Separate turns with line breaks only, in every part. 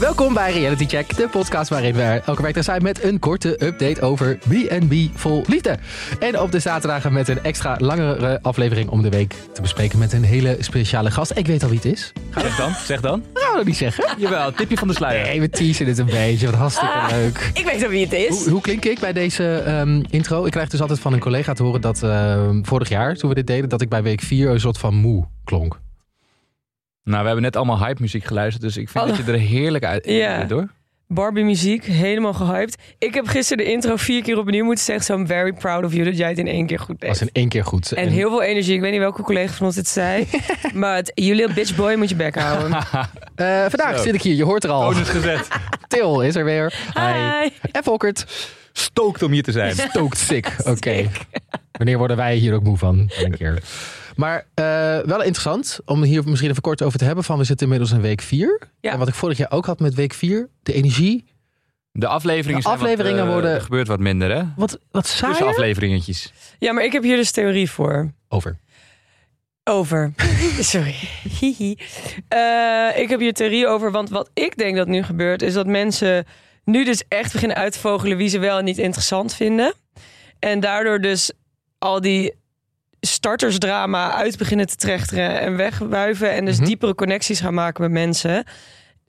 Welkom bij Reality Check, de podcast waarin we er elke week er zijn met een korte update over B&B vol liefde. En op de zaterdagen met een extra langere aflevering om de week te bespreken met een hele speciale gast. Ik weet al wie het is.
Zeg dan, zeg dan.
Gaan we dat niet zeggen?
Jawel, tipje van de sluier. Ah.
Nee, we teasen dit een beetje, wat hartstikke leuk.
Ik weet al wie het is.
Hoe, hoe klink ik bij deze ehm, intro? Ik krijg dus altijd van een collega te horen dat ehm, vorig jaar, toen we dit deden, dat ik bij week 4 een soort van moe klonk.
Nou, we hebben net allemaal hype muziek geluisterd, dus ik vind
Oh.
dat je er heerlijk uit
Ja.
uit hoor.
Barbie muziek, helemaal gehyped. Ik heb gisteren de intro vier keer opnieuw moeten zeggen. So I'm very proud of you dat jij het in één keer goed
was
deed.
in één keer goed.
En heel veel energie. Ik weet niet welke collega van ons dit zei. maar het, you little bitch boy moet je bek houden.
eh, vandaag
Zo. Oh, dus-
zit ik hier, je hoort er al.
Bonus gezet.
Til is er weer.
Hi.
En Volkert.
Stookt om hier te zijn.
Stoked sick. Oké. Wanneer worden wij hier ook moe van? Wel Een keer. Maar eh, wel interessant om hier misschien even kort over te hebben. Van we zitten inmiddels in week 4.
Ja.
En wat ik vorig jaar ook had met week 4. De energie.
De afleveringen,
De
zijn
afleveringen
wat, eh,
worden-
er gebeurt wat minder, hè?
Wat, wat
Dus
saai.
afleveringetjes.
Ja, maar ik heb hier dus theorie voor.
Over.
Over. Sorry. Hihi. Eh, ik heb hier theorie over, want wat ik denk dat nu gebeurt... is dat mensen nu dus echt beginnen uit te vogelen... wie ze wel en niet interessant vinden. En daardoor dus al die startersdrama uit beginnen te trechteren... en wegwuiven en dus
Mhm.
diepere connecties gaan maken met mensen...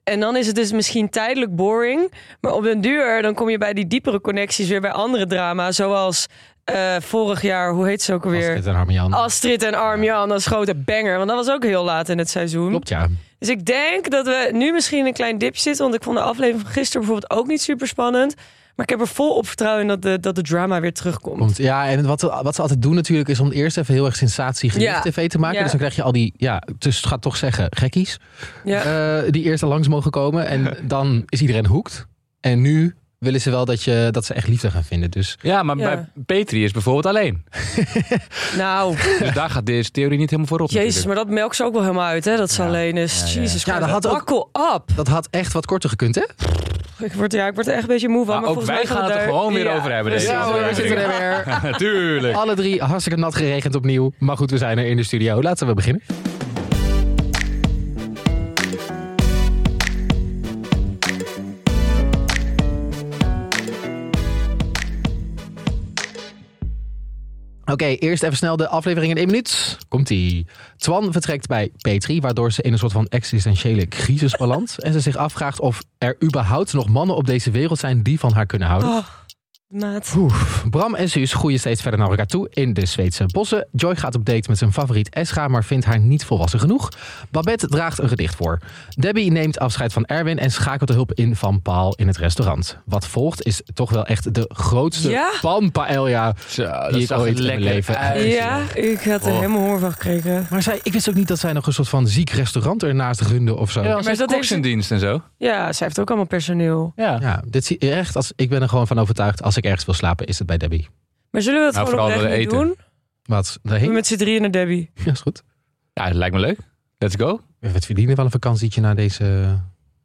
En dan is het dus misschien tijdelijk boring. Maar op den duur dan kom je bij die diepere connecties weer bij andere drama. Zoals eh, vorig jaar, hoe heet ze ook alweer?
Astrid en Harmian.
Astrid en Armjan als grote banger. Want dat was ook heel laat in het seizoen.
Klopt ja.
Dus ik denk dat we nu misschien in een klein dipje zitten. Want ik vond de aflevering van gisteren bijvoorbeeld ook niet super spannend. Maar ik heb er vol op vertrouwen in dat de, dat de drama weer terugkomt.
Komt. Ja, en wat, wat ze altijd doen natuurlijk is om eerst even heel erg sensatie
Ja.
tv te maken.
Ja.
Dus dan krijg je al die, ja, dus ga toch zeggen, gekkies.
Ja.
eh, die eerst al langs mogen komen. En dan is iedereen hoekt. En nu willen ze wel dat, je, dat ze echt liefde gaan vinden. Dus
Ja, maar
Ja.
bij Petri is bijvoorbeeld alleen.
Nou,
Dus daar gaat deze theorie niet helemaal voor op.
jezus,
natuurlijk.
maar dat melkt ze ook wel helemaal uit, hè? Dat ze
Ja.
alleen is.
Ja, ja, ja.
Jezus,
Ja, dat had ook-
Buckle up.
dat had echt wat korter gekund, hè?
Ik word, ja, ik word er echt een beetje moe van.
Maar
maar
ook
volgens
wij
mij
gaan het er
daar-
gewoon weer
Ja,
over hebben,
precies.
deze
Ja,
Ja, hoor, we
we
zitten
zitten
er
er-
weer.
Natuurlijk.
Alle drie hartstikke nat geregend opnieuw. Maar goed, we zijn er in de studio. Laten we beginnen. Oké, eerst even snel de aflevering in één minuut. Komt-ie. Twan vertrekt bij Petri, waardoor ze in een soort van existentiële crisis belandt. en ze zich afvraagt of er überhaupt nog mannen op deze wereld zijn die van haar kunnen houden.
Oh, maat.
Oef. Bram en Suus groeien steeds verder naar elkaar toe in de Zweedse bossen. Joy gaat op date met zijn favoriet Escha, maar vindt haar niet volwassen genoeg. Babette draagt een gedicht voor. Debbie neemt afscheid van Erwin en schakelt de hulp in van Paal in het restaurant. Wat volgt is toch wel echt de grootste
Ja?
panpaella
Zo, dat
Die ik
zag er
ooit in mijn
lekker
leven
uit.
Ja, ik had er
Oh.
helemaal honger van gekregen.
Maar zij, ik wist ook niet dat zij nog een soort van ziek restaurant ernaast runde of zo.
Ja,
Ja,
als
dat
een koks
heeft-
in dienst en zo.
Ja, zij heeft ook allemaal personeel.
Ja.
dit zie echt als, ik ben er gewoon van overtuigd. Als ik ergens wil slapen, is het bij Debbie.
Maar zullen we dat
Nou,
gewoon
vooral
oprecht niet
willen
doen?
Wat?
We
Daarheen?
met z'n drieën naar Debbie.
Ja, is goed.
Ja, dat lijkt me leuk. Let's go.
We verdienen wel een vakantietje na deze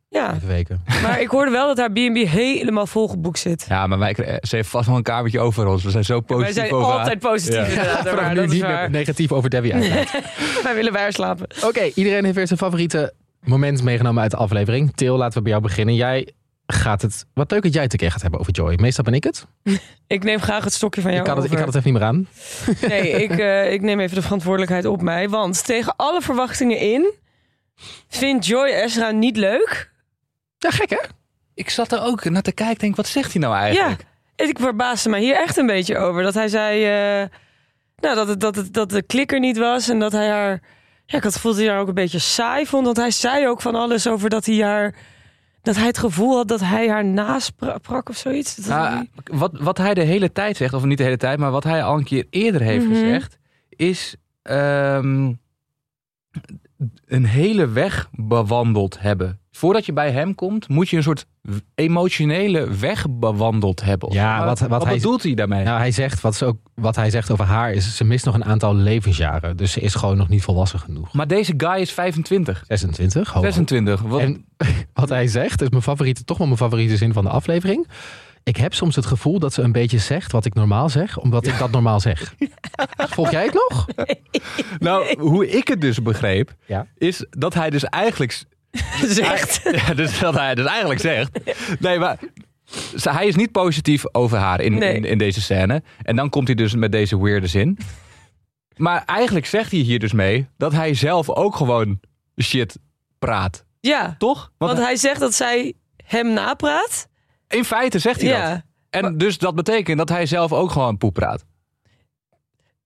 Ja,
vijf weken.
maar ik hoorde wel dat haar B&B helemaal vol geboekt zit.
Ja, maar wij, kre- ze heeft vast wel een kamertje over ons. We zijn zo
Wij
positief
zijn
over haar.
altijd positief
Ja.
inderdaad.
Vanaf
maar
nu
dat is
niet
waar.
meer negatief over Debbie uitlaten.
Wij willen bij haar slapen.
Oké, iedereen heeft weer zijn favoriete moment meegenomen uit de aflevering. Til, laten we bij jou beginnen. Jij gaat het... Wat leuk dat jij het een keer gaat hebben over Joy. Meestal ben ik het.
Ik neem graag het stokje van
Ik
jou
kan het, ik
over.
kan het even niet meer aan.
Nee, ik, eh, ik neem even de verantwoordelijkheid op mij. Want tegen alle verwachtingen in... vindt Joy Ezra niet leuk.
Ja, gek hè?
Ik zat er ook naar te kijken. Denk, wat zegt hij nou eigenlijk?
Ja, ik verbaasde me hier echt een beetje over. Dat hij zei eh, nou, dat, het, dat, het, dat de klikker niet was en dat hij haar... Ja, ik had het gevoel dat hij haar ook een beetje saai vond. Want hij zei ook van alles over dat hij haar... Dat hij het gevoel had dat hij haar nasprak of zoiets. Dat
Nou,
hij-
wat, wat hij de hele tijd zegt, of niet de hele tijd, maar wat hij al een keer eerder heeft
Mhm.
gezegd, is ehm, een hele weg bewandeld hebben. Voordat je bij hem komt, moet je een soort w- emotionele weg bewandeld hebben.
Ja, wat- wat hij-
bedoelt hij daarmee?
Nou, hij zegt, wat, ze ook, wat hij zegt over haar is... ze mist nog een aantal levensjaren. Dus ze is gewoon nog niet volwassen genoeg.
Maar deze guy is 25.
26, hoog.
26. Wat,
En wat hij zegt, is mijn favoriete, toch wel mijn favoriete zin van de aflevering. Ik heb soms het gevoel dat ze een beetje zegt wat ik normaal zeg, omdat ik dat normaal zeg. Volg jij het nog?
Nou, hoe ik het dus begreep,
Ja.
is dat hij dus eigenlijk... s-
Zegt.
Ja, dus dat hij dus eigenlijk zegt... Nee, maar ze- hij is niet positief over haar in,
Nee.
in, in deze scène. En dan komt hij dus met deze weirde zin. Maar eigenlijk zegt hij hier dus mee dat hij zelf ook gewoon shit praat.
Ja,
Toch? Want,
want hij zegt dat zij hem napraat.
in feite zegt hij dat.
Ja,
En dus dat betekent dat hij zelf ook gewoon poep praat.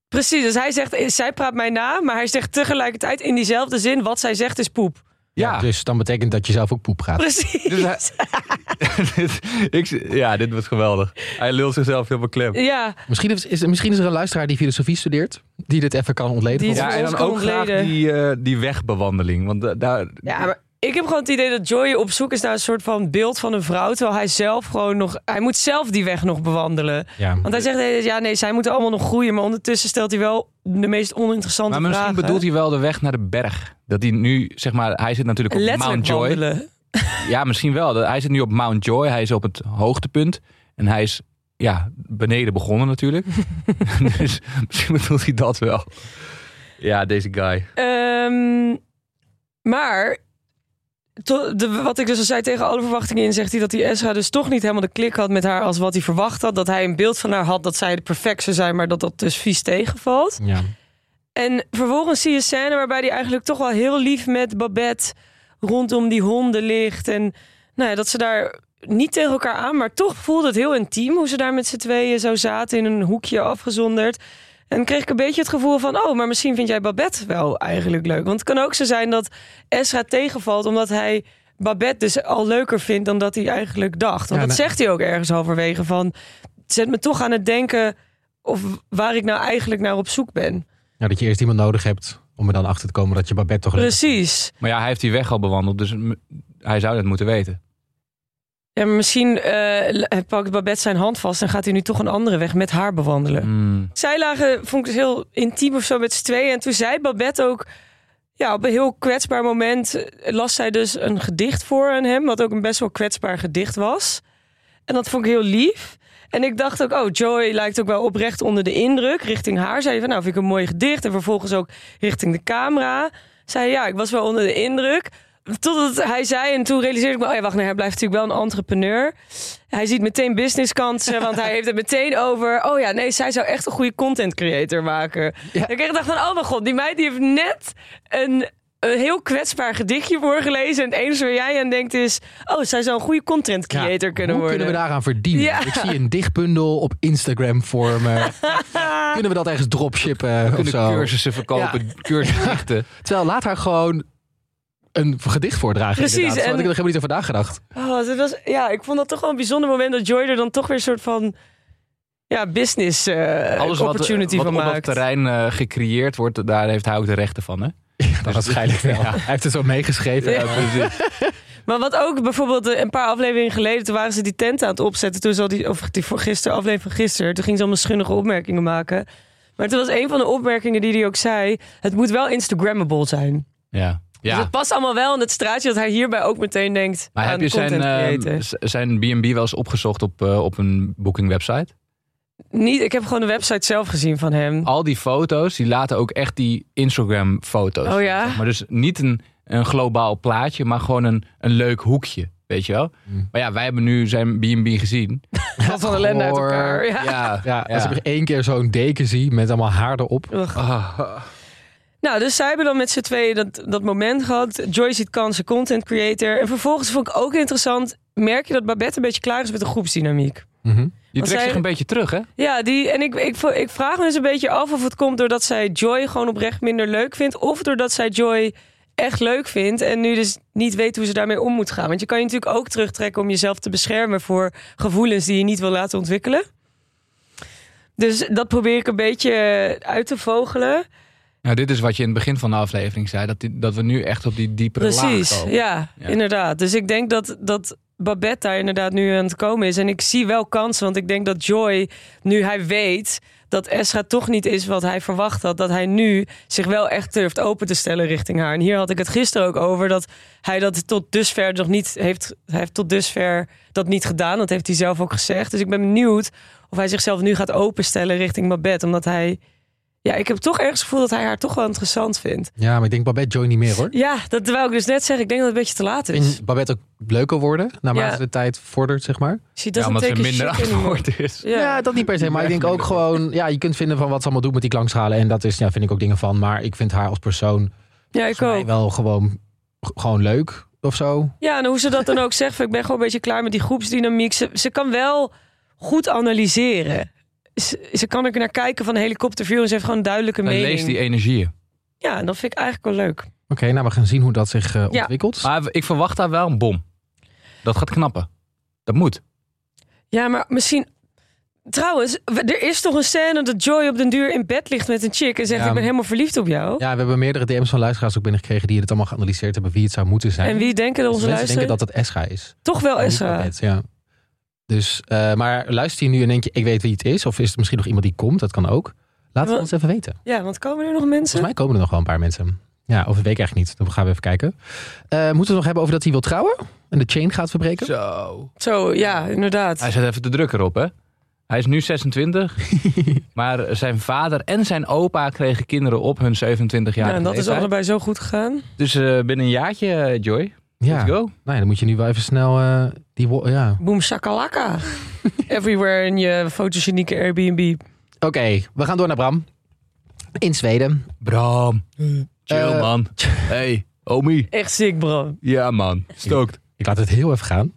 precies. Dus hij zegt, zij praat mij na, maar hij zegt tegelijkertijd in diezelfde zin, wat zij zegt is poep.
Ja.
Dus dan betekent dat je zelf ook poep gaat.
Precies.
Dus hij- dit, ik, ja, dit was geweldig. Hij lult zichzelf helemaal klem.
Ja,
Misschien is, is- misschien is er een luisteraar die filosofie studeert, die dit even kan ontleden.
Die-
voor
Ja,
ons.
en
ons
dan
kan
ook graag
ontleden.
die, eh, die wegbewandeling. Want da- daar...
Ja, maar ik heb gewoon het idee dat Joy op zoek is naar een soort van beeld van een vrouw. Terwijl hij zelf gewoon nog. Hij moet zelf die weg nog bewandelen.
Ja.
Want hij zegt, nee, ja, nee, zij moeten allemaal nog groeien. Maar ondertussen stelt hij wel de meest oninteressante
Maar misschien
vragen.
bedoelt hij wel de weg naar de berg. Dat hij nu, zeg maar, hij zit natuurlijk op
Letterlijk
Mount Joy.
wandelen.
Ja, misschien wel. Dat- Hij zit nu op Mount Joy. Hij is op het hoogtepunt. En hij is, ja, beneden begonnen natuurlijk. dus misschien bedoelt hij dat wel. Ja, deze guy.
Ehm, maar to- de, wat ik dus al zei, tegen alle verwachtingen in zegt hij dat die Ezra dus toch niet helemaal de klik had met haar als wat hij verwacht had. Dat hij een beeld van haar had dat zij perfect zou zijn, maar dat dat dus vies tegenvalt.
Ja.
En vervolgens zie je een scène waarbij hij eigenlijk toch wel heel lief met Babette rondom die honden ligt. En nou ja, dat ze daar niet tegen elkaar aan, maar toch voelde het heel intiem hoe ze daar met z'n tweeën zo zaten in een hoekje afgezonderd. En kreeg ik een beetje het gevoel van, oh, maar misschien vind jij Babette wel eigenlijk leuk. Want het kan ook zo zijn dat Ezra tegenvalt omdat hij Babette dus al leuker vindt dan dat hij eigenlijk dacht. Want
Ja,
dat
nou-
zegt hij ook ergens halverwege van, het zet me toch aan het denken of waar ik nou eigenlijk naar op zoek ben.
Nou, dat je eerst iemand nodig hebt om er dan achter te komen dat je Babette toch... leuk-
Precies.
Maar ja, hij heeft die weg al bewandeld. Dus m- hij zou dat moeten weten.
Ja, maar misschien eh, l- pakt Babette zijn hand vast en gaat hij nu toch een andere weg met haar bewandelen.
Hmm.
Zij lagen, vond ik dus heel intiem of zo met z'n tweeën. En toen zei Babette ook, ja, op een heel kwetsbaar moment eh, las zij dus een gedicht voor aan hem. Wat ook een best wel kwetsbaar gedicht was. En dat vond ik heel lief. En ik dacht ook, oh, Joy lijkt ook wel oprecht onder de indruk. Richting haar zei hij van, nou, vind ik een mooi gedicht. En vervolgens ook richting de camera. Zei hij, ja, ik was wel onder de indruk. Totdat hij zei, en toen realiseerde ik me, oh ja, wacht, nee, hij blijft natuurlijk wel een entrepreneur. Hij ziet meteen businesskansen, want hij heeft het meteen over... oh ja, nee, zij zou echt een goede content creator maken.
Ja.
En ik echt dacht van, oh mijn god, die meid die heeft net een, een heel kwetsbaar gedichtje voorgelezen... en het enige waar jij aan denkt is... oh, zij zou een goede content
Ja,
creator kunnen
hoe
worden.
kunnen we daaraan verdienen?
Ja.
Ik zie een dichtbundel op Instagram vormen. kunnen we dat ergens dropshippen of
Kunnen
zo?
cursussen verkopen, cursusdichten.
Terwijl laat haar gewoon een gedicht voordragen.
Precies,
inderdaad. Zo
en-
had ik er helemaal niet over nagedacht.
Oh, dat was, ja, ik vond dat toch wel een bijzonder moment dat Joy er dan toch weer een soort van ja, business eh,
Alles wat, eh,
opportunity
wat
van
op
maakt.
dat terrein eh, daar wordt, daar heeft hij ook de rechten van. Hè? Dus
Dat waarschijnlijk wel. Hij heeft het zo meegeschreven.
Ja. Maar wat ook bijvoorbeeld eh, een paar afleveringen geleden, toen waren ze die tent aan het opzetten. Toen zal die, of die voor gisteren, aflevering van gisteren, toen ging ze allemaal schunnige opmerkingen maken. Maar toen was een van de opmerkingen die hij ook zei: het moet wel Instagrammable zijn.
ja. ja.
Dus het past allemaal wel in het straatje dat hij hierbij ook meteen denkt.
maar
aan
heb je zijn,
Ah, content creator.
eh, z- zijn B&B wel eens opgezocht op, eh, op een booking website?
Niet, ik heb gewoon de website zelf gezien van hem.
Al die foto's, die laten ook echt die Instagram foto's.
Oh ja?
Maar dus niet een, een globaal plaatje, maar gewoon een, een leuk hoekje. Weet je wel? Maar ja, wij hebben nu zijn B&B gezien.
Dat van ellende uit
Goor.
elkaar. Ja.
Ja.
Ja, als ik één keer zo'n deken zie met allemaal haar erop.
Ugh.
Ah.
Nou, dus zij hebben dan met z'n tweeën dat, dat moment gehad. Joy ziet kansen, content creator. En vervolgens vond ik ook interessant, merk je dat Babette een beetje klaar is met de groepsdynamiek.
Mhm.
Je trekt
zij-
zich een beetje terug, hè?
Ja, die, en ik, ik, vo- ik vraag me dus een beetje af of het komt doordat zij Joy gewoon oprecht minder leuk vindt. Of doordat zij Joy echt leuk vindt en nu dus niet weet hoe ze daarmee om moet gaan. Want je kan je natuurlijk ook terugtrekken om jezelf te beschermen voor gevoelens die je niet wil laten ontwikkelen. Dus dat probeer ik een beetje eh, uit te vogelen.
Nou, dit is wat je in het begin van de aflevering zei. Dat, die- dat we nu echt op die diepere laag
Precies,
komen.
ja,
Ja.
inderdaad. Dus ik denk dat, dat Babette daar inderdaad nu aan het komen is. En ik zie wel kansen, want ik denk dat Joy, nu hij weet dat Esra toch niet is wat hij verwacht had, dat hij nu zich wel echt durft open te stellen richting haar. En hier had ik het gisteren ook over dat hij dat tot dusver nog niet heeft, hij heeft tot dusver dat niet gedaan. Dat heeft hij zelf ook gezegd. Dus ik ben benieuwd of hij zichzelf nu gaat openstellen richting Babette, omdat hij, ja, ik heb toch ergens het gevoel dat hij haar toch wel interessant vindt.
Ja, maar ik denk Babette Joy niet meer hoor.
Ja, dat terwijl ik dus net zeg, ik denk dat het een beetje te laat is.
En Babette ook leuker worden, naarmate
Ja.
de tijd vordert, zeg maar.
She
Ja,
doesn't
omdat ze
take a
minder
shit anymore.
aangehoord is.
Ja.
Ja.
dat niet per se. Maar ik denk ook gewoon, ja, je kunt vinden van wat ze allemaal doet met die klankschalen. En dat is, ja, vind ik ook dingen van. Maar ik vind haar als persoon
Ja,
volgens
ik
mij
ook.
wel gewoon, gewoon leuk of zo.
Ja, en hoe ze dat dan ook zegt, van, ik ben gewoon een beetje klaar met die groepsdynamiek. Ze, ze kan wel goed analyseren. Ze, ze kan er naar kijken van een helikopterview en ze heeft gewoon een duidelijke
En
mening.
lees die energieën.
Ja, en dat vind ik eigenlijk wel leuk.
Oké, nou we gaan zien hoe dat zich eh, ontwikkelt.
Maar ik verwacht daar wel een bom. Dat gaat knappen. Dat moet.
Ja, maar misschien... Trouwens, w- er is toch een scène dat Joy op den duur in bed ligt met een chick en zegt
Ja.
ik ben helemaal verliefd op jou.
Ja, we hebben meerdere DM's van luisteraars ook binnengekregen die het allemaal geanalyseerd hebben wie het zou moeten zijn.
En wie denken dat
Dus
onze
mensen
luisteren?
denken dat het Esra is.
Toch wel Esra.
Alfabet, Ja. Dus, eh, maar luister je nu en denk je, ik weet wie het is. Of is het misschien nog iemand die komt, dat kan ook. Laat het
Wel-
ons even weten.
Ja, want komen er nog mensen?
Volgens mij komen er nog wel een paar mensen. Ja, over de week eigenlijk niet. Dan gaan we even kijken. Eh, moeten we het nog hebben over dat hij wil trouwen? En de chain gaat verbreken?
Zo.
Zo, ja, inderdaad.
Hij zet even de druk erop, hè? Hij is nu 26. maar zijn vader en zijn opa kregen kinderen op hun 27 jaar.
Ja, Nou, en dat is allebei zo goed gegaan.
Dus eh, binnen een jaartje, eh, Joy. Let's
Nou
go.
ja, dan moet je nu wel even snel eh, die... wo- Ja.
Boom shakalaka. Everywhere in je fotogenieke Airbnb.
Oké, we gaan door naar Bram. In Zweden.
Bram. Chill,
Eh,
man. Hey, Omi.
Echt ziek, bro.
Ja, man. Stookt.
Ik laat het heel even gaan.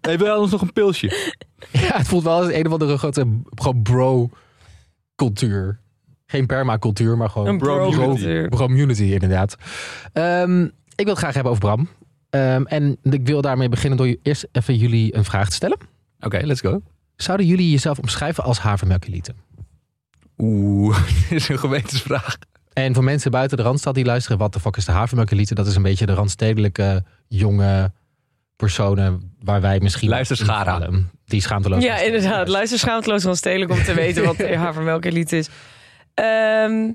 Hey, wil je anders nog een pilsje?
Ja, het voelt wel als een of andere grote gewoon bro-cultuur. Geen permacultuur, maar gewoon...
Een bro.
bro-cultuur.
Bram Unity, inderdaad. Ehm, ik wil het graag hebben over Bram. Ehm, en ik wil daarmee beginnen door je- eerst even jullie een vraag te stellen.
Oké, let's go.
Zouden jullie jezelf omschrijven als havermelkelieten?
Oeh, dit is een gewetensvraag.
En voor mensen buiten de Randstad die luisteren... wat de fuck is de havermelkelieten? Dat is een beetje de randstedelijke jonge personen... waar wij misschien...
Luister
in
schaar aan.
vallen. Die schaamteloos
Ja, inderdaad. Luister schaamteloos van Stedelijk om te weten wat havermelkeliet is. Ehm,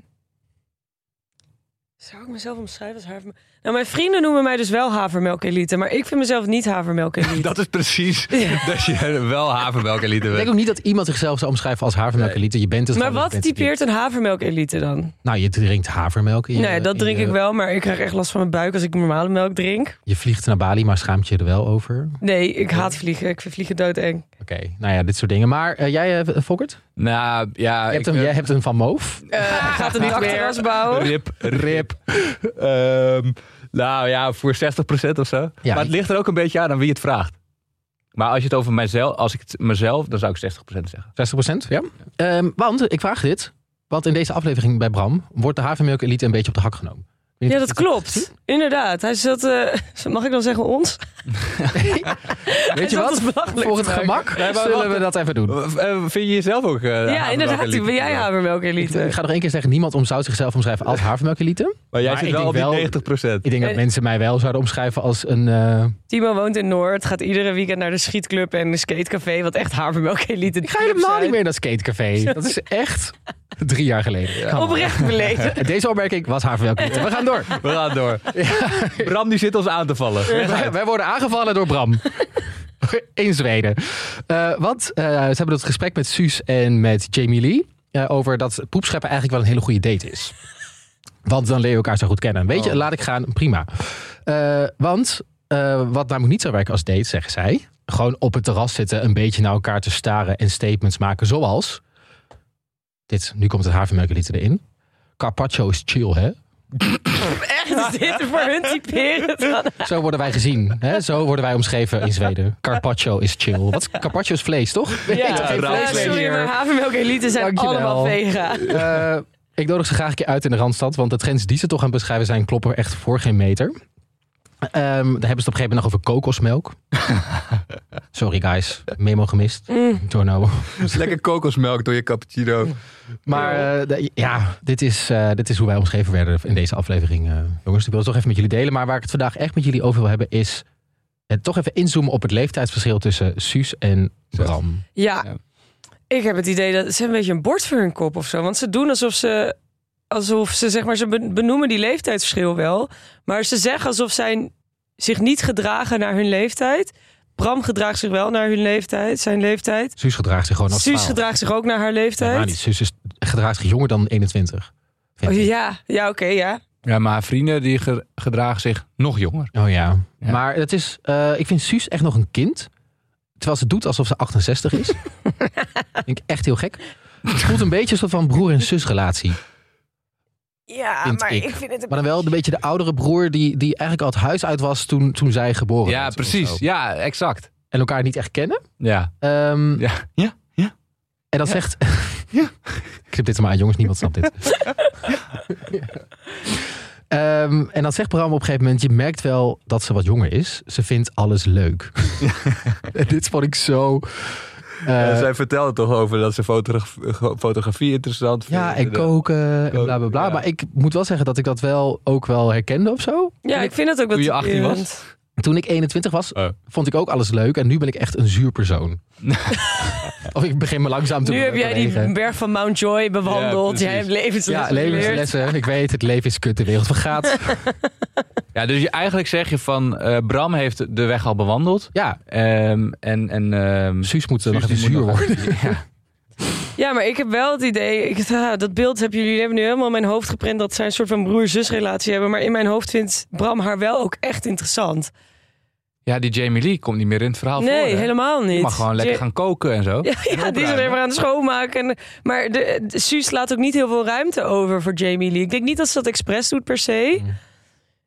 zou ik mezelf omschrijven als havermelk? Nou, mijn vrienden noemen mij dus wel havermelkeliet, maar ik vind mezelf niet havermelkeliet.
Dat is precies
Ja.
dat je wel havermelkelieten
Ik denk
bent.
ook niet dat iemand zichzelf zou omschrijven als havermelkelieten. Je bent dus het
Maar
gewoon, je
wat
bent het
typeert een havermelkelite dan?
niet. Nou, je drinkt havermelk. in je-
Nee, dat
in
drink
je-
ik wel, maar ik krijg echt last van mijn buik als ik normale melk drink.
Je vliegt naar Bali, maar schaamt je er wel over.
Nee, ik haat vliegen. Ik vind vliegen doodeng.
Oké, nou ja, dit soort dingen. Maar eh, jij, eh, Fokkert?
Nou, ja.
Je
ik,
hebt een,
eh,
jij hebt een Van Moof.
Eh gaat het niet meer
Oh.
bouwen?
Rip, rip. Ehm, nou ja, voor 60% of zo.
Ja,
maar het
ik-
ligt er ook een beetje aan aan wie het vraagt. Maar als je het over mijzelf, als ik het mezelf, dan zou ik 60% zeggen.
60%? Ja. Ehm, want, ik vraag dit. Want in deze aflevering bij Bram wordt de havermelk elite een beetje op de hak genomen. Weet je
Ja,
of
dat
je
klopt. Inderdaad. Hij zat, eh, mag ik dan zeggen ons?
Weet je
zat
wat?
ons belachelijk
Voor het
te maken.
gemak
Nee, maar
zullen
wacht.
we dat even doen.
Eh, Vind je jezelf ook? eh,
ja,
havermelk
inderdaad.
elite?
Ben jij
Ik, ik
havermelkelite?
ga nog één keer zeggen, niemand om zou zichzelf omschrijven als havermelkelite.
Maar jij
Maar
zit
ik
wel op die
denk wel-
90%.
Ik denk dat
Eh.
mensen mij wel zouden omschrijven als een... eh,
Timo woont in Noord, gaat iedere weekend naar de schietclub en de skatecafé, wat echt havermelkelite
ik ga helemaal niet meer naar skatecafé. Dat is echt drie jaar geleden. Come on.
Oprecht belezen.
Deze opmerking was havermelkelite. We gaan door.
We gaan door. Bram die zit ons aan te vallen.
Wij, wij worden aangevallen door Bram. In Zweden. Eh, want eh, ze hebben dat gesprek met Suus en met Jamie Lee. eh, over dat poepscheppen eigenlijk wel een hele goede date is. Want dan leer je elkaar zo goed kennen. Weet je,
Oh.
laat ik gaan, prima. Eh, want eh, wat namelijk niet zou werken als date, zeggen zij. Gewoon op het terras zitten, een beetje naar elkaar te staren en statements maken. Zoals. Dit, nu komt het havermelkelied erin. Carpaccio is chill, hè?
Echt, is dit voor hun typerend?
Zo worden wij gezien. Hè? Zo worden wij omschreven in Zweden. Carpaccio is chill. Wat is, carpaccio is vlees, toch?
Ja,
Ik eet geen
rauw
ja,
vlees meer
sorry,
hier.
maar havermelkelite zijn
Dankjewel.
allemaal vega.
Eh, ik nodig ze graag een keer uit in de Randstad. Want de trends die ze toch aan beschrijven zijn kloppen echt voor geen meter. Ehm, daar hebben ze het op een gegeven moment nog over kokosmelk. Sorry guys, memo gemist. Torno.
Lekker kokosmelk door je cappuccino.
Maar eh, de- ja, dit is, eh, dit is hoe wij omschreven werden in deze aflevering. eh, jongens, ik wil het toch even met jullie delen. Maar waar ik het vandaag echt met jullie over wil hebben is... En toch even inzoomen op het leeftijdsverschil tussen Suus en Bram.
Ja.
Ja.
Ik heb het idee dat ze een beetje een bord voor hun kop of zo. Want ze doen alsof ze. Alsof ze, zeg maar, ze ben- benoemen die leeftijdsverschil wel. Maar ze zeggen alsof zij zich niet gedragen naar hun leeftijd. Bram gedraagt zich wel naar hun leeftijd, zijn leeftijd.
Suus gedraagt zich gewoon als
Suus
12.
gedraagt zich ook naar haar
Helemaal
leeftijd.
niet. Suus is, gedraagt zich jonger dan 21. vind
Oh,
ik.
ja, ja oké, ja.
Ja, maar haar vrienden die ge- gedragen zich nog jonger.
Oh ja.
Ja.
Maar het is, eh, ik vind Suus echt nog een kind. Terwijl ze doet alsof ze 68 is. vind ik echt heel gek. Het voelt een beetje een soort van broer- en zusrelatie.
Ja,
Vind
maar
ik.
ik. vind het een
Maar dan wel een beetje de oudere broer die, die eigenlijk al het huis uit was toen, toen zij geboren
Ja,
werd of zo.
precies. Ja, exact.
En elkaar niet echt kennen.
Ja.
Ehm,
Ja. Ja.
En dat
Ja.
zegt...
Ja.
Knip dit er maar aan, jongens. Niemand snapt dit. Ehm, en dan zegt Bram op een gegeven moment... je merkt wel dat ze wat jonger is. Ze vindt alles leuk. En dit vond ik zo... eh,
zij vertelde toch over dat ze fotografie interessant
ja, en koken en
Koken,
bla bla bla.
ja.
Maar ik moet wel zeggen dat ik dat wel ook wel herkende of zo.
Ja, ik vind dat ook wel
Toen je 18 was?
typerend.
Toen ik 21 was,
Oh.
vond ik ook alles leuk. En nu ben ik echt een zuur persoon. of ik begin me langzaam te
Nu heb jij die
bewegen.
berg van Mount Joy bewandeld.
Ja,
jij hebt
precies.
Ja,
levenslessen geleerd.
levenslessen. Ik weet, het leven is kut, de wereld vergaat.
Ja, dus je, eigenlijk zeg je van eh, Bram heeft de weg al bewandeld.
Ja,
Ehm, en en ehm,
Suus moet er nog
Suus, die
even
moet
zuur
nog
worden.
Ja.
Ja, maar ik heb wel het idee. Ik, ah, dat beeld hebben jullie hebben nu helemaal in mijn hoofd geprint dat zij een soort van broer-zusrelatie hebben. Maar in mijn hoofd vindt Bram haar wel ook echt interessant.
ja, die Jamie Lee komt niet meer in het verhaal voor.
nee,
hè?
helemaal niet.
Je mag gewoon lekker
Ja,
gaan koken en zo.
Ja, die is alleen maar aan het schoonmaken. En, maar de, de- Suus laat ook niet heel veel ruimte over voor Jamie Lee. Ik denk niet dat ze dat expres doet per se.
Mm.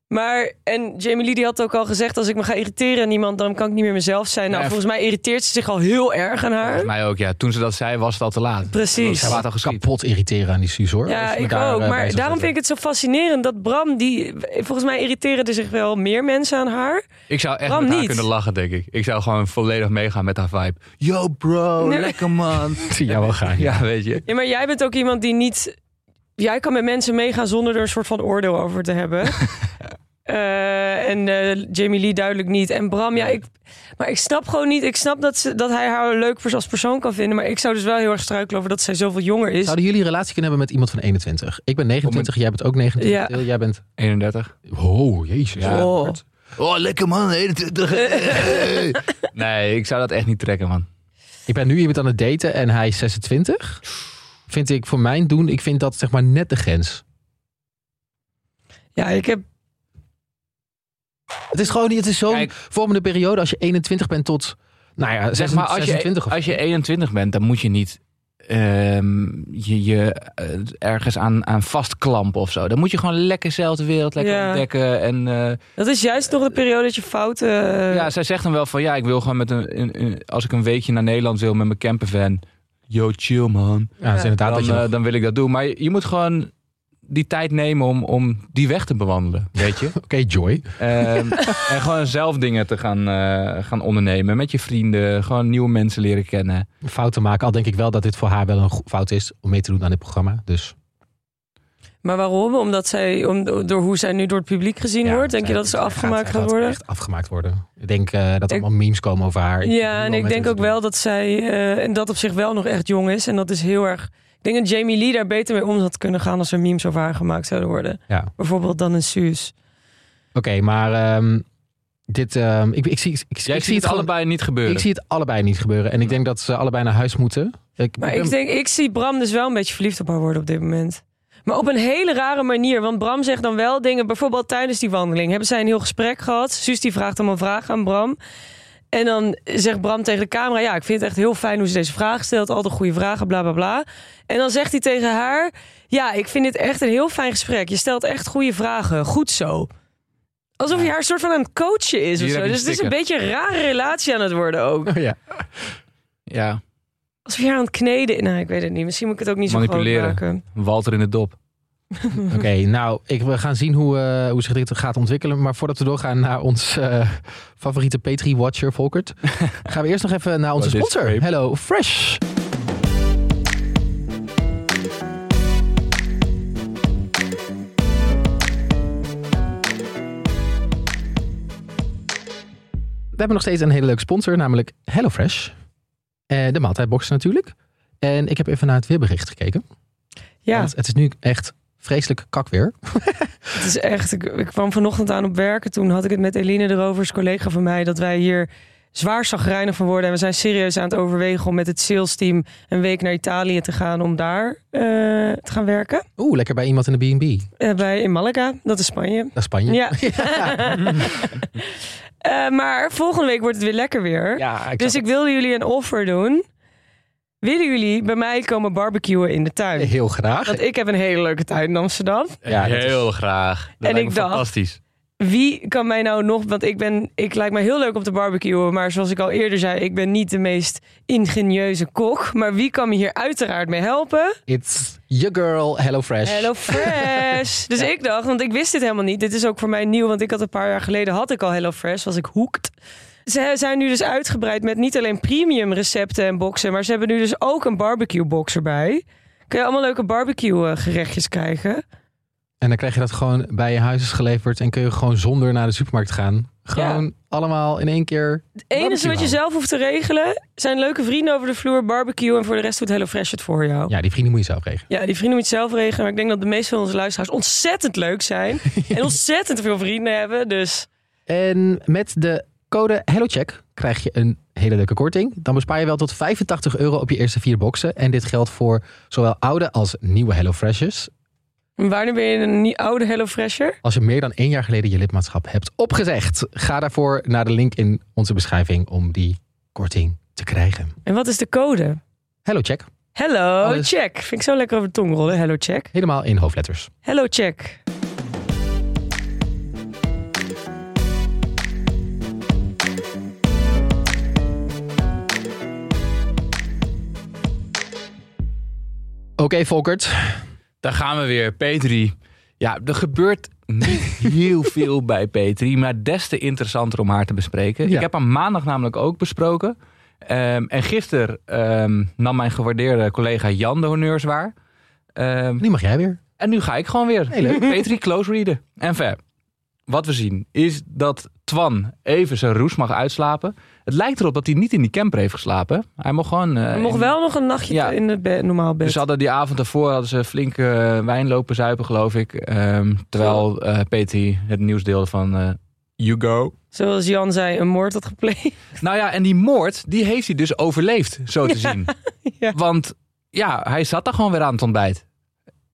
Maar, en Jamie Lee die had ook al gezegd... als ik me ga irriteren aan iemand, dan kan ik niet meer mezelf zijn. Nou,
Ja,
volgens mij irriteert ze zich al heel erg aan haar.
Volgens mij ook, ja. Toen ze dat zei, was het al te laat.
Precies.
Ze had al geschiet.
Kapot irriteren aan die Suus hoor.
Ja, ik ook.
eh,
Maar daarom vind ik het zo fascinerend dat Bram, die volgens mij irriteren er zich wel meer mensen aan haar.
Ik zou echt
Bram
met haar
niet.
kunnen lachen, denk ik. Ik zou gewoon volledig meegaan met haar vibe. Yo bro,
Nee.
lekker man.
het zie jou wel gaan. Ja.
Ja, weet je.
Ja, maar jij bent ook iemand die niet. Jij kan met mensen meegaan zonder er een soort van oordeel over te hebben. Eh, en eh, Jamie Lee duidelijk niet. En Bram, ja, ik, maar ik snap gewoon niet. Ik snap dat, ze, dat hij haar leuk voor- als persoon kan vinden. Maar ik zou dus wel heel erg struikelen over dat zij zoveel jonger is.
Zouden jullie een relatie kunnen hebben met iemand van 21? Ik ben 29, jij bent ook 29.
Ja.
Til, Jij bent...
31.
Oh, jezus.
Ja.
Oh.
Oh, lekker man, 21. nee, ik zou dat echt niet trekken, man.
Ik ben nu iemand aan het daten en hij is 26. Vind ik voor mijn doen, ik vind dat zeg maar net de grens.
Ja, ik heb.
Het is gewoon, niet- het is zo'n
Kijk.
vormende periode als je 21 bent tot, nou ja,
Zeg maar, als je,
26 of
als je 21 bent, dan moet je niet ehm, je, je eh, ergens aan, aan vastklampen of zo. Dan moet je gewoon lekker zelf de wereld lekker
Ja.
ontdekken. En, eh,
Dat is juist nog de periode dat je fouten. eh,
Ja,
Eh.
zij zegt dan wel van ja, ik wil gewoon met een, een- een- als ik een weekje naar Nederland wil met mijn campervan. Yo, chill man.
Ja, dat is
Ja.
inderdaad
Dan,
dat je
eh,
nog-
dan wil ik dat doen. Maar je, je moet gewoon die tijd nemen om, om die weg te bewandelen, eh, weet je.
Oké, Joy.
Ehm, en gewoon zelf dingen te gaan, eh, gaan ondernemen met je vrienden. Gewoon nieuwe mensen leren kennen.
Fouten maken. Al denk ik wel dat dit voor haar wel een go- fout is om mee te doen aan dit programma. Dus
Maar waarom? Omdat zij, om, door hoe zij nu door het publiek gezien
Ja,
wordt, denk je
zij-
dat ze
zij
afgemaakt
zij
gaat worden?
Echt afgemaakt worden. Ik denk eh, dat er
Ik-
allemaal memes komen over haar. weet niet
ja, en
wel
ik
met
denk
hoe
ook
ze doen.
wel dat zij, eh, en dat op zich wel nog echt jong is. En dat is heel erg. Ik denk dat Jamie Lee daar beter mee om had kunnen gaan als er memes over haar gemaakt zouden worden.
Ja.
Bijvoorbeeld dan een Suus.
Oké, maar ehm, dit, ehm, ik, ik zie, ik, ik,
Jij
ik
ziet het
alle-
allebei niet gebeuren.
ik zie het allebei niet gebeuren. En ik denk dat ze allebei naar huis moeten. Ik,
Maar
ik ben-
ik denk, ik zie Bram dus wel een beetje verliefd op haar worden op dit moment. Maar op een hele rare manier. Want Bram zegt dan wel dingen. Bijvoorbeeld tijdens die wandeling hebben zij een heel gesprek gehad. Suus die vraagt allemaal vragen aan Bram. En dan zegt Bram tegen de camera: Ja, ik vind het echt heel fijn hoe ze deze vraag stelt. Altijd goede vragen, bla bla bla. En dan zegt hij tegen haar: Ja, ik vind dit echt een heel fijn gesprek. Je stelt echt goede vragen. Goed zo. Alsof je haar een soort van aan het coachen is.
Hier
Of
heb
zo.
je
Dus het is een
sticker.
beetje een rare relatie aan het worden ook.
ja.
Ja,
Alsof je haar aan het kneden. Nou, ik weet het niet. Misschien moet ik het ook niet zo groot
Manipuleren.
maken.
Walter in de dop.
Oké, nou, ik, we gaan zien hoe, eh, hoe zich dit gaat ontwikkelen. Maar voordat we doorgaan naar ons eh, favoriete Petri-watcher, Volkert... gaan we eerst nog even naar onze
Wat is
sponsor.
grape?
Hello Fresh. hebben nog steeds een hele leuke sponsor, namelijk HelloFresh. Eh de maaltijdbox natuurlijk. En ik heb even naar het weerbericht gekeken.
Ja,
Want het is nu echt vreselijk kakweer.
het is echt. Ik, ik kwam vanochtend aan op werken. Toen had ik het met Eline erover, is collega van mij, dat wij hier zwaar zagrijnig van worden. En we zijn serieus aan het overwegen om met het sales team een week naar Italië te gaan om daar eh, te gaan werken.
Oeh, lekker bij iemand in de B&B.
Eh, bij, in Malaga, dat is Spanje.
Dat is Spanje.
Ja. Eh, maar volgende week wordt het weer lekker weer.
Ja, ik
dus
zou-
ik wilde jullie een offer doen. Willen jullie bij mij komen barbecuen in de tuin?
heel graag.
Want ik heb een hele leuke tuin in Amsterdam.
Ja, dat is-
heel graag. Dat
En
lijkt
ik
me
dacht-
Fantastisch.
Wie kan mij nou nog... Want ik ben... Ik lijkt mij heel leuk om te barbecuen. Maar zoals ik al eerder zei, ik ben niet de meest ingenieuze kok. Maar wie kan me hier uiteraard mee helpen?
It's your girl, HelloFresh.
Hello Fresh. dus ik dacht, want ik wist dit helemaal niet. Dit is ook voor mij nieuw, want ik had een paar jaar geleden had ik al Hello Fresh, was ik hoekt. Ze zijn nu dus uitgebreid met niet alleen premium recepten en boxen, maar ze hebben nu dus ook een barbecue box erbij. Kun je allemaal leuke barbecue eh, gerechtjes krijgen?
En dan krijg je dat gewoon bij je huis is geleverd en kun je gewoon zonder naar de supermarkt gaan. Gewoon allemaal in één keer.
Het enige wat je
Barbecue.
zelf hoeft te regelen zijn leuke vrienden over de vloer, barbecue en voor de rest doet Hello Fresh het voor jou.
Ja, die vrienden moet je zelf regelen.
Ja, die vrienden moet je zelf regelen, maar ik denk dat de meeste van onze luisteraars ontzettend leuk zijn en ontzettend veel vrienden hebben. Dus
En met de code HelloCheck krijg je een hele leuke korting. Dan bespaar je wel tot 85 euro op je eerste vier boxen. En dit geldt voor zowel oude als nieuwe HelloFreshers.
wanneer ben je een nie- oude Hello Fresher?
Als je meer dan één jaar geleden je lidmaatschap hebt opgezegd, ga daarvoor naar de link in onze beschrijving om die korting te krijgen.
En wat is de code?
HelloCheck,
Hello,
Alles.
check. Vind ik zo lekker over de tong rollen. Hello, check.
helemaal in hoofdletters.
Hello, check.
Oké, Volkert.
Daar gaan we weer, Petri. Ja, er gebeurt niet heel veel bij Petri, maar des te interessanter om haar te bespreken.
Ja.
Ik heb hem maandag namelijk ook besproken. Ehm, en gisteren ehm, nam mijn gewaardeerde collega Jan de honneurs waar. Ehm,
Nu mag jij weer.
En nu ga ik gewoon weer.
Heel leuk.
Petri close readen. En ver. Wat we zien is dat Twan even zijn roes mag uitslapen. Het lijkt erop dat hij niet in die camper heeft geslapen. Hij mocht gewoon... eh,
We mocht
in-
wel nog een nachtje
Ja.
in het bed, normaal bed.
Dus ze hadden die avond daarvoor hadden ze flink eh, wijn lopen zuipen, geloof ik. Ehm, terwijl eh, Petri het nieuws deelde van... eh, you go.
Zoals Jan zei, een moord had gepleegd.
Nou ja, en die moord, die heeft hij dus overleefd, zo te zien.
ja.
Want ja, hij zat daar gewoon weer aan het ontbijt.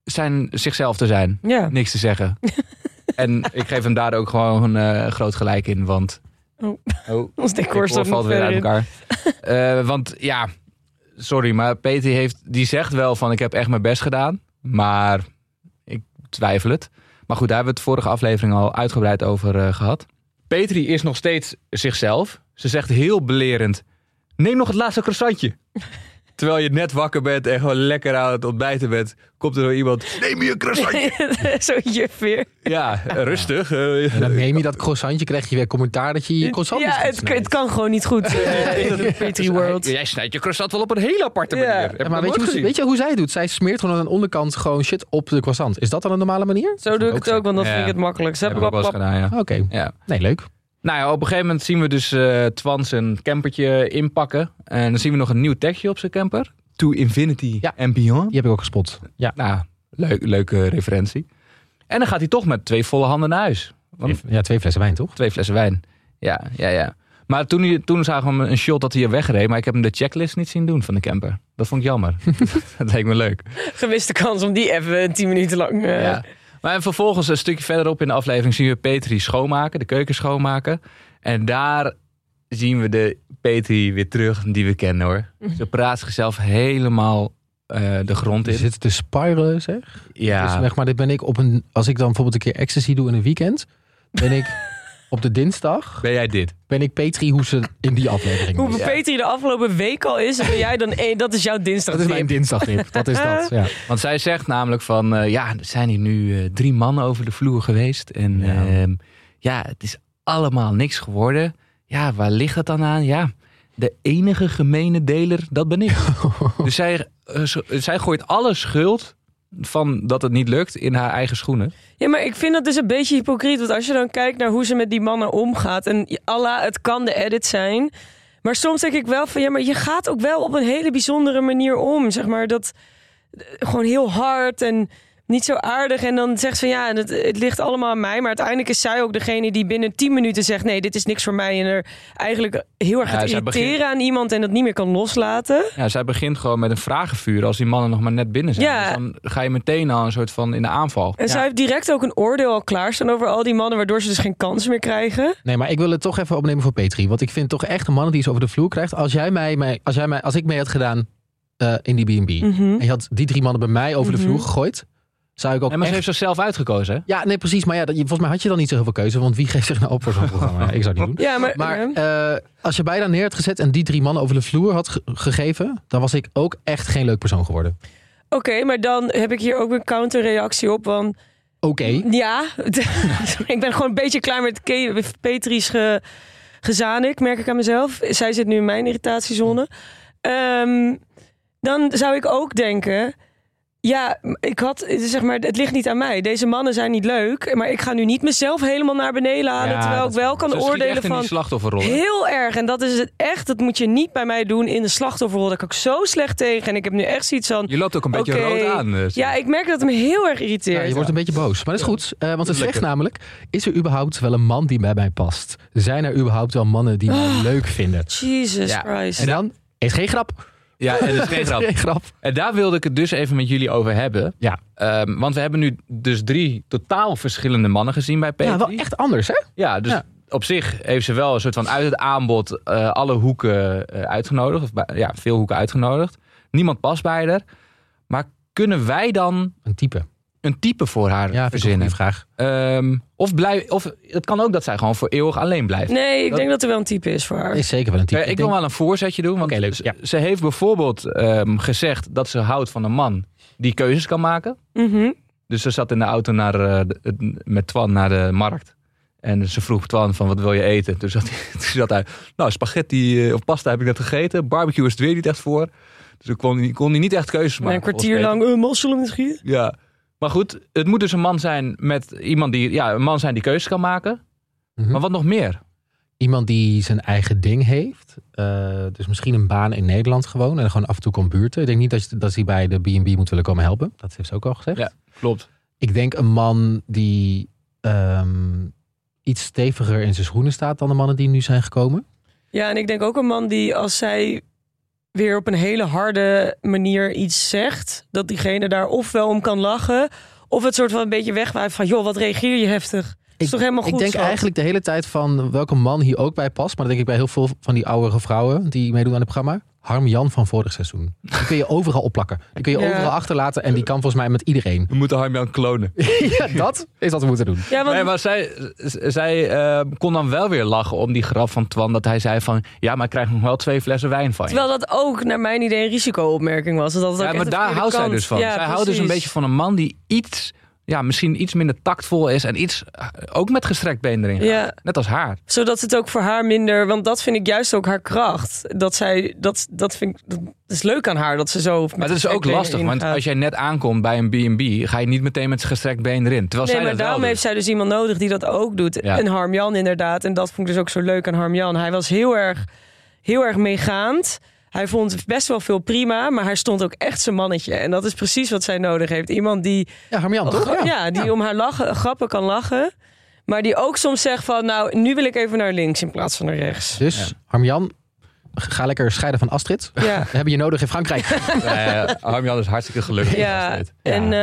Zijn, zichzelf te zijn.
Ja.
niks te zeggen. en ik geef hem daar ook gewoon eh, groot gelijk in, want...
Oh.
Oh,
Ons
ik
decor staat
valt
nog
weer
verder
uit elkaar.
in.
Eh, want ja, sorry, maar Peter heeft, die zegt wel van ik heb echt mijn best gedaan, maar ik twijfel het. Maar goed, daar hebben we het vorige aflevering al uitgebreid over eh, gehad. Petri is nog steeds zichzelf. Ze zegt heel belerend, neem nog het laatste croissantje. Terwijl je net wakker bent en gewoon lekker aan het ontbijten bent, komt er door iemand, neem je een croissantje.
Zo juf weer.
Ja, rustig. eh.
En dan neem je dat croissantje, krijg je weer commentaar dat je je croissant
ja,
niet goed
het,
snijdt.
het kan gewoon niet goed eh, in de Petri World.
Jij snijdt je croissant wel op een hele aparte
Ja.
manier.
Ja,
Heb ik
Ja, maar
nog
weet je,
nooit
hoe,
gezien.
weet je hoe zij het doet? Zij smeert gewoon aan de onderkant gewoon shit op de croissant. Is dat dan een normale manier?
Zo doe ik het ook, want dan
Ja.
vind ik het makkelijkst.
Heb ik ook wel eens gedaan, ja.
Oké.
Ja.
Nee, leuk.
Nou ja, op een gegeven moment zien we dus eh Twan zijn campertje inpakken. En dan zien we nog een nieuw tekstje op zijn camper. To infinity
Ja.
and beyond.
Die heb ik ook gespot. Ja.
Nou, leuk, leuke referentie. En dan gaat hij toch met twee volle handen naar huis. Want
Ja, twee flessen wijn, toch?
twee flessen wijn. Ja, ja, ja. Maar toen, hij- toen zagen we hem een shot dat hij er wegreed. Maar ik heb hem de checklist niet zien doen van de camper. Dat vond ik jammer. dat leek me leuk.
Gemiste kans om die even tien minuten lang... eh,
Ja. Maar en vervolgens een stukje verderop in de aflevering zien we Petri schoonmaken, de keuken schoonmaken. En daar zien we de Petri weer terug die we kennen hoor. Ze praat zichzelf helemaal eh, de grond
Er
in.
zitten te spiralen, zeg. Dus
Ja,
zeg maar, dit ben ik op een... Als ik dan bijvoorbeeld een keer ecstasy doe in een weekend... ben ik op de dinsdag...
ben jij dit?
ben ik Petri hoe ze in die aflevering
Hoe
was.
Petri de afgelopen week al is, ben jij dan... eh, dat is jouw dinsdag.
Dat is mijn dinsdagtip. Dat is dat, ja.
Want zij zegt namelijk van, eh, ja, er zijn hier nu eh, drie mannen over de vloer geweest. En
Ja.
ehm, ja, het is allemaal niks geworden. Ja, waar ligt dat dan aan? Ja, de enige gemene deler, dat ben ik. dus zij, eh, zo- zij gooit alle schuld van dat het niet lukt in haar eigen schoenen.
Ja, maar ik vind dat dus een beetje hypocriet. Want als je dan kijkt naar hoe ze met die mannen omgaat. En Allah, het kan de edit zijn. Maar soms denk ik wel van ja, maar je gaat ook wel op een hele bijzondere manier om. Zeg maar dat eh, gewoon heel hard en niet zo aardig. En dan zegt ze van ja, en het, het ligt allemaal aan mij. Maar uiteindelijk is zij ook degene die binnen 10 minuten zegt: nee, dit is niks voor mij. En er eigenlijk heel erg
Ja,
gaat
zij begint-
irriteren aan iemand en dat niet meer kan loslaten.
Ja, zij begint gewoon met een vragenvuur als die mannen nog maar net binnen zijn.
Ja.
Dus dan ga je meteen al een soort van in de aanval.
En zij heeft direct ook een oordeel al klaarstaan over al die mannen, waardoor ze dus geen kansen meer krijgen.
Nee, maar ik wil het toch even opnemen voor Petri. Want ik vind toch echt een man die ze over de vloer krijgt. Als, jij mij, mij, als, jij mij, als ik mee had gedaan eh, in die B&B...
Mhm.
en je had die drie mannen bij mij over de vloer gegooid... zou ik ook
Nee, Mhm. maar ze
echt...
heeft zichzelf uitgekozen, hè?
Ja, nee, precies. Maar ja, dat- je- volgens mij had je dan niet zo heel veel keuze. Want wie geeft zich nou op voor zo'n programma? Ja, ik zou het niet doen.
Ja, maar,
Maar
eh,
eh, als je bijna neer had gezet en die drie mannen over de vloer had ge- gegeven... dan was ik ook echt geen leuk persoon geworden.
Oké, maar dan heb ik hier ook een counterreactie op. Want
Oké.
ja, ik ben gewoon een beetje klaar met Ke- Petri's ge, gezanik, merk ik aan mezelf. Zij zit nu in mijn irritatiezone. Ehm, dan zou ik ook denken... Ja, ik had, zeg maar, het ligt niet aan mij. Deze mannen zijn niet leuk. Maar ik ga nu niet mezelf helemaal naar beneden halen.
Ja,
terwijl ik
dat-
wel kan
ze schiet
oordelen
echt in
van...
die slachtofferrol. hè?
Heel erg. En dat is het echt. Dat moet je niet bij mij doen in de slachtofferrol. Daar kan ik zo slecht tegen. En ik heb nu echt zoiets van...
Je loopt ook een beetje
Oké.
rood aan. eh,
Ja, ik merk dat het me heel erg
Ja,
irriteert.
je wordt een beetje boos. Maar dat is goed, eh, want
Dat
het
is
zegt
lekker.
namelijk... is er überhaupt wel een man die bij mij past? Zijn er überhaupt wel mannen die mij leuk vinden?
Jesus
Ja.
Christ.
En dan is geen grap.
Ja, en dat is geen grap.
Geen grap.
En daar wilde ik het dus even met jullie over hebben.
Ja.
Ehm, want we hebben nu dus drie totaal verschillende mannen gezien bij Petri.
Ja, wel echt anders, hè?
Ja, dus
Ja.
op zich heeft ze wel een soort van uit het aanbod eh, alle hoeken eh, uitgenodigd. Of, bij- ja, veel hoeken uitgenodigd. Niemand past bij haar. Maar kunnen wij dan
Een type.
een type voor haar
Ja, vind ik een
verzinnen?
goede vraag.
Ehm, of, blij, of het kan ook dat zij gewoon voor eeuwig alleen blijft.
Nee, ik
Dat-
denk dat er wel een type is voor haar.
Is zeker wel een type.
Eh, ik wil wel een voorzetje doen. Want
Oké, leuk,
ze-
ja.
Ze heeft bijvoorbeeld ehm, gezegd dat ze houdt van een man die keuzes kan maken.
Mhm.
Dus ze zat in de auto naar, eh, de- het- met Twan naar de markt. En ze vroeg Twan van wat wil je eten? Toen zat, hij- toen zat hij, nou spaghetti eh, of pasta heb ik net gegeten. Barbecue is het weer niet echt voor. Dus toen kon hij, kon hij niet echt keuzes
Maar
maken.
een kwartier
volgens
lang uh, mosselen misschien.
Peter. Ja. Maar goed, het moet dus een man zijn met iemand die, ja, een man zijn die keuzes kan maken.
Mhm.
Maar wat nog meer?
Iemand die zijn eigen ding heeft. eh, dus misschien een baan in Nederland gewoon. En gewoon af en toe komt buurten. Ik denk niet dat, je, dat hij bij de B&B moet willen komen helpen. Dat heeft ze ook al gezegd.
Ja. Klopt.
Ik denk een man die ehm, iets steviger in zijn schoenen staat dan de mannen die nu zijn gekomen.
Ja, en ik denk ook een man die als zij weer op een hele harde manier iets zegt... dat diegene daar ofwel om kan lachen... of het soort van een beetje wegwaait van... joh, wat reageer je heftig. is toch helemaal
ik
goed,
denk
schat?
eigenlijk de hele tijd van welke man hier ook bij past. Maar dat denk ik bij heel veel van die oudere vrouwen die meedoen aan het programma. Harm Jan van vorig seizoen. Die kun je overal opplakken. Die kun je
Ja.
overal achterlaten. En die kan volgens mij met iedereen.
We moeten Harmjan klonen.
ja, dat is wat we moeten doen.
Ja, want
Nee, maar zij, z- zij eh, kon dan wel weer lachen om die grap van Twan. Dat hij zei van, ja, maar ik krijg nog wel twee flessen wijn van je.
Terwijl dat ook naar mijn idee een risicoopmerking was. Dat het ook
Ja,
echt
maar
de
daar
verkeerde
houdt zij
kant-
dus van.
Ja,
zij houdt dus een
precies.
beetje van een man die iets, ja, misschien iets minder tactvol is en iets eh, ook met gestrekt been erin. gaat.
Ja,
Net als haar.
zodat het ook voor haar minder... Want dat vind ik juist ook haar kracht. Dat zij... Dat, dat vind ik... Dat is leuk aan haar dat ze zo... met
Maar dat is
gestrekt
ook
benen
lastig, want
ingaat.
als jij net aankomt bij een B&B, ga je niet meteen met gestrekt been erin. Terwijl zij
Nee, maar
dat wel
daarom
doet.
heeft zij dus iemand nodig die dat ook doet.
Ja.
En Harm Jan inderdaad. En dat vond ik dus ook zo leuk aan Harm Jan. Hij was heel erg, heel erg meegaand. Hij vond best wel veel prima, maar hij stond ook echt zijn mannetje. En dat is precies wat zij nodig heeft. Iemand die
Ja, Harm Jan, toch?
Ja, die om haar lachen, grappen kan lachen. Maar die ook soms zegt van, nou, nu wil ik even naar links in plaats van naar rechts.
Dus Harmjan, ga lekker scheiden van Astrid.
Ja,
We hebben je nodig in Frankrijk.
Nee, eh, Harmjan is hartstikke gelukkig.
ja.
met dit.
En, eh,
vind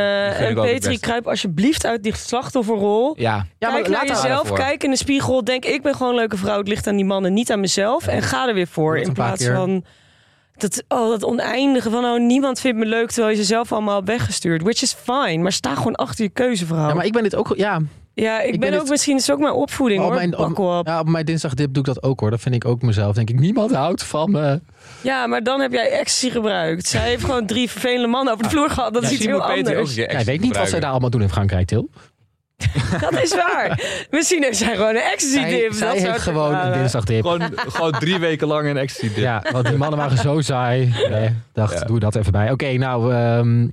ik
en
ook het
Petri,
beste.
kruip alsjeblieft uit die slachtofferrol.
ja.
Ja,
kijk naar
haar
jezelf,
daarvoor.
kijk in de spiegel. Denk, ik ben gewoon een leuke vrouw. Het ligt aan die mannen, niet aan mezelf. En ga er weer voor.
Doe dat
In
een paar
plaats
keer.
van dat, oh, dat oneindige van... Oh, niemand vindt me leuk, terwijl je ze zelf allemaal hebt weggestuurd. Which is fine, maar sta gewoon achter je keuze, vrouw.
Ja,
Ja,
maar ik ben dit ook... Ja,
ik,
ik
ben,
ben
ook
het-
misschien... is ook mijn opvoeding,
op
hoor.
mijn, op,
Bakkel op.
ja, op mijn dinsdagdip doe ik dat ook hoor. Dat vind ik ook mezelf. Denk ik, niemand houdt van me.
Ja, maar dan heb jij ecstasy gebruikt. Zij heeft gewoon drie vervelende mannen over de vloer gehad. Dat
Ja,
is iets
misschien
heel
moet Petri ook
anders.
een keer
Ja, ik
extra
weet niet wat zij
gebruiken.
daar allemaal doen in Frankrijk, Til.
Dat is waar. Misschien heeft zij gewoon een ecstasy
Zij,
dip.
zij
dat zou
heeft
het
gewoon
waren.
een dinsdagdip.
Gewoon, gewoon drie weken lang een ecstasy dip.
Ja, want die mannen waren zo saai. Nee, dacht,
Ja.
doe dat even bij. Oké, nou, ehm,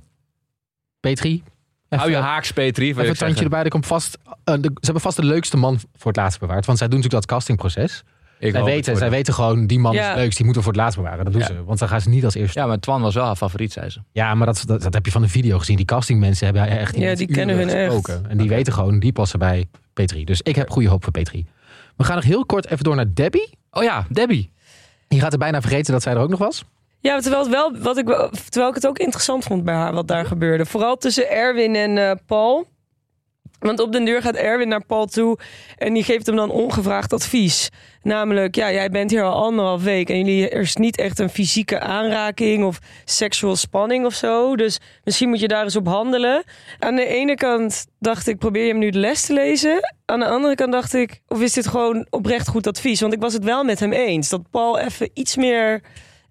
Petri.
Hou je
even-
haaks, Petri.
Even
wil ik
een tandje
zeggen.
erbij. Er komt vast, eh, de- ze hebben vast de leukste man voor het laatst bewaard. Want zij doen natuurlijk dat castingproces.
Ik
Zij
hoop het
weten,
voor
zij
de-
weten gewoon, die man is
Ja.
het leukst. Die moeten we voor het laatst bewaren. Dat doen
Ja.
ze. Want dan gaan ze niet als eerste. Ja,
Ja, maar Twan was wel haar favoriet, zei ze.
maar dat, dat, dat heb je van de video gezien. Die castingmensen hebben echt
Ja,
ineens
die kennen
uren
hun echt.
gesproken. En die weten gewoon, die passen bij Petri. Dus ik heb goede hoop voor Petri. We gaan nog heel kort even door naar Debbie.
Oh ja, Debbie.
Je gaat er bijna vergeten dat zij er ook nog was.
Ja, terwijl, het wel, wat ik, wel- terwijl ik het ook interessant vond bij haar wat daar gebeurde. Vooral tussen Erwin en eh, Paul. Want op den deur gaat Erwin naar Paul toe en die geeft hem dan ongevraagd advies. Namelijk, ja, jij bent hier al anderhalf week en jullie, er is niet echt een fysieke aanraking of seksual spanning of zo. Dus misschien moet je daar eens op handelen. Aan de ene kant dacht ik, probeer je hem nu de les te lezen. Aan de andere kant dacht ik, of is dit gewoon oprecht goed advies? Want ik was het wel met hem eens dat Paul even iets meer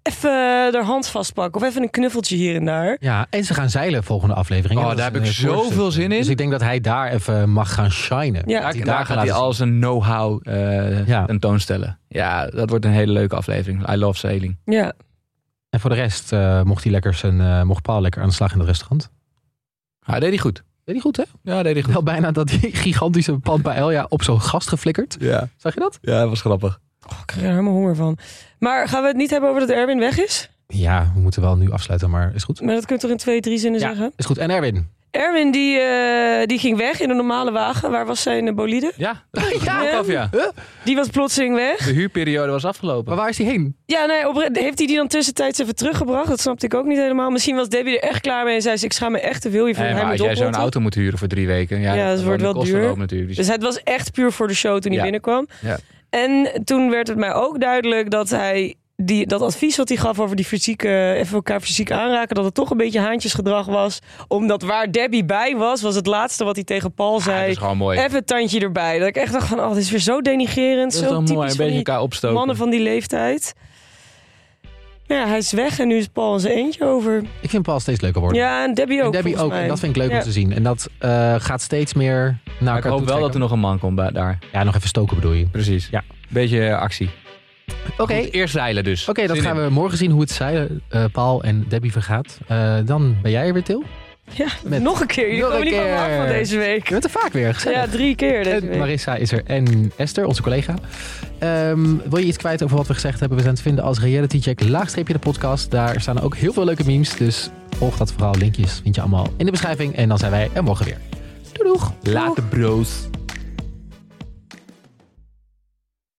even haar hand vastpakken of even een knuffeltje hier en daar.
Ja, en ze gaan zeilen volgende aflevering.
Oh,
Dat
daar
is
heb
een,
ik
eh, voorstuk.
zoveel zin in.
Dus ik denk dat hij daar even mag gaan shinen.
Ja.
Ja,
Die
daar,
daar laten
gaat hij
zien.
al zijn know-how eh
Ja.
tentoonstellen. Ja, dat wordt een hele leuke aflevering. I love sailing.
Ja,
En voor de rest eh, mocht, hij lekker zijn, eh, mocht Paul lekker aan de slag in het restaurant.
Hij deed hij goed.
Weet hij goed, hè?
Ja, deed hij goed.
Wel bijna dat die gigantische pand bij Elja op zo'n gast geflikkerd.
Ja,
Zag je dat?
ja, dat was grappig.
oh, ik krijg er helemaal honger van. Maar gaan we het niet hebben over dat Erwin weg is?
Ja, we moeten wel nu afsluiten, maar is goed.
Maar dat kun je toch in twee, drie zinnen
Ja.
zeggen?
Is goed. En Erwin?
Erwin die, eh, die ging weg in een normale wagen. Waar was zijn eh, bolide?
Ja, dat was
Ja,
ook
hè?
af, ja.
Die was plotseling weg.
De huurperiode was
Maar
afgelopen.
waar is hij heen?
Ja, nee, opre- heeft hij die dan tussentijds even teruggebracht? Dat snapte ik ook niet helemaal. Misschien was Debbie er echt klaar mee en zei ze... ik schaam me echt te veel hiervan.
Nee,
hij
Eh, maar
moet
als jij zo'n
oplossen.
auto moet huren voor drie weken. Ja,
Ja, dat
dan
wordt
de
wel
kosten
duur.
lopen natuurlijk. Dus
Dus het was echt puur voor de show toen hij
Ja.
binnenkwam.
Ja.
En toen werd het mij ook duidelijk dat hij die, dat advies wat hij gaf over die fysieke, even elkaar fysiek aanraken, dat het toch een beetje haantjesgedrag was. Omdat waar Debbie bij was, was het laatste wat hij tegen Paul
ja, Ah, dat
zei.
is gewoon mooi.
even het tandje erbij. Dat ik echt dacht van, oh, dit is weer zo denigerend.
Dat is
zo
wel
typisch
mooi. Een
van
beetje
die
elkaar opstoken.
mannen van die leeftijd. Maar ja, hij is weg en nu is Paul in zijn eentje over.
Ik vind Paul steeds leuker worden.
Ja, en Debbie ook.
en Debbie
volgens
ook.
mij.
En dat vind ik leuk
Ja.
om te zien. En dat eh, gaat steeds meer naar
Maar Nou, ik
elkaar
hoop
toe
wel dat er
trekken.
nog een man komt bij, daar.
Ja, nog even stoken bedoel je.
Precies.
Ja.
Beetje eh, actie.
Oké,
Goed, Eerst zeilen dus.
Oké, dat
Zin in.
gaan we morgen zien hoe het zeilen eh, Paul en Debbie vergaat. Eh, dan ben jij er weer, Til.
Ja,
Met-
nog een keer. Jullie
Nog een
komen niet van me af van
keer.
deze
Je
week.
bent er vaak weer,
eh,
gezellig.
Ja, drie keer deze
En
week.
Marissa is er en Esther, onze collega. Ehm, wil je iets kwijt over wat we gezegd hebben? We zijn te vinden als Reality Check, laagstreepje de podcast. Daar staan ook heel veel leuke memes, dus volg dat vooral. Linkjes vind je allemaal in de beschrijving. En dan zijn wij er morgen weer. Doei doeg!
Later, broos.